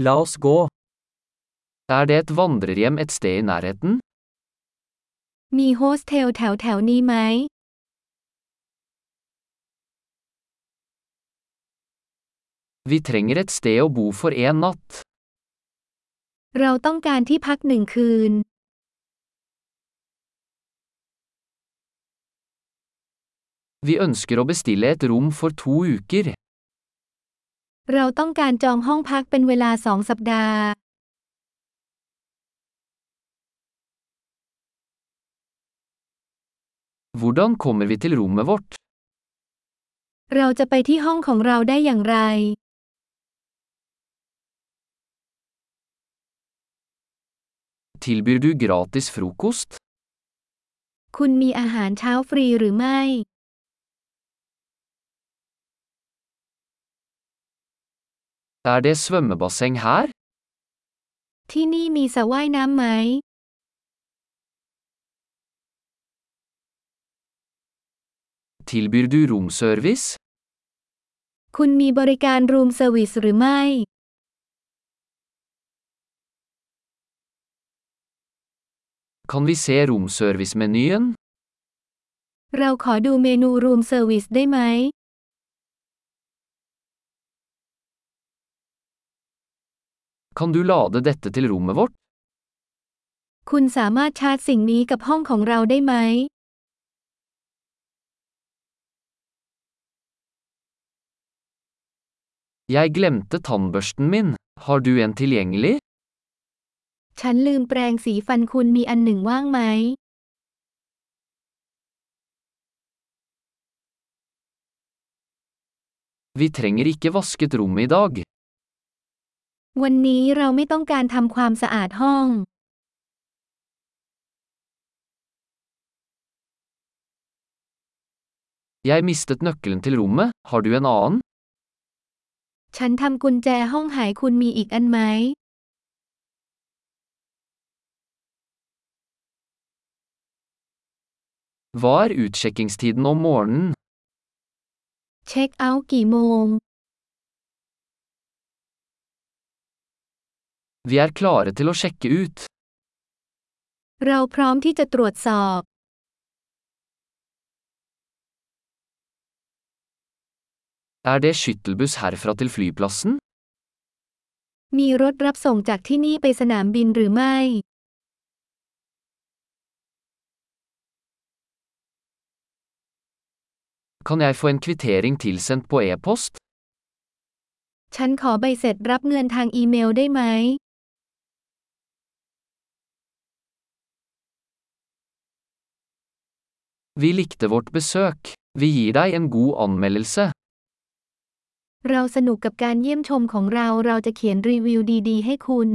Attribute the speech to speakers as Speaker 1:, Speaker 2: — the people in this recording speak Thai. Speaker 1: La oss gå. Er det et vandrerhjem et sted i nærheten?
Speaker 2: มีโฮสเทลแถวแถวๆนี้ไหม
Speaker 1: Vi trenger et sted å bo for en natt.
Speaker 2: เราต้องการที่พักหนึ่งคืน
Speaker 1: Vi ønsker å bestille et rom for to uker.
Speaker 2: เราต้องการจองห้องพักเป็นเวลาสองสัปดาห์
Speaker 1: Hvordan kommer vi til rommet vårt?
Speaker 2: เราจะไปที่ห้องของเราได้อย่างไร
Speaker 1: Tilbyr du gratis frokost?
Speaker 2: คุณมีอาหารเช้าฟรีหรือไม่
Speaker 1: Er det svømmebasseng her?
Speaker 2: ที่นี่มีสระว่ายน้ำไหม
Speaker 1: Tilbyr du romservice?
Speaker 2: คุณมีบริการรูมเซอร์วิสหรือไม่
Speaker 1: Kan vi se romservice-menyen?
Speaker 2: เราขอดูเมนูรูมเซอร์วิสได้ไหม
Speaker 1: Kan du lade dette til rommet vårt?
Speaker 2: คุณสามารถชาร์จสิ่งนี้กับห้องของเราได้ไหม
Speaker 1: Jeg glemte tannbørsten min. Har du en tilgjengelig?
Speaker 2: ฉันลืมแปรงสีฟันคุณมีอันหนึ่งว่างไหม
Speaker 1: Vi trenger ikke vasket rommet i dag.
Speaker 2: วันนี้เราไม่ต้องการทำความสะอาดห้อง
Speaker 1: Jeg mistet nøkkelen til rommet, har du en annen?
Speaker 2: ฉันทำกุญแจห้องหายคุณมีอีกอันไหม
Speaker 1: Hva er utsjekkingstiden om morgenen?
Speaker 2: เช็คเอาท์กี่โมง
Speaker 1: Vi er klare til å sjekke ut.
Speaker 2: เราพร้อมที่จะตรวจสอบ
Speaker 1: Er det skyttelbuss herfra til flyplassen?
Speaker 2: มีรถรับส่งจากที่นี่ไปสนามบินหรือไม่
Speaker 1: Kan jeg få en kvittering tilsendt på e-post?
Speaker 2: ฉันขอใบเสร็จรับเงินทางอีเมลได้ไหม
Speaker 1: Vi likte vårt besøk. Vi gir deg en god anmeldelse.
Speaker 2: เราสนุกกับการเยี่ยมชมของเราเราจะเขียนรีวิวดีๆ ให้คุณ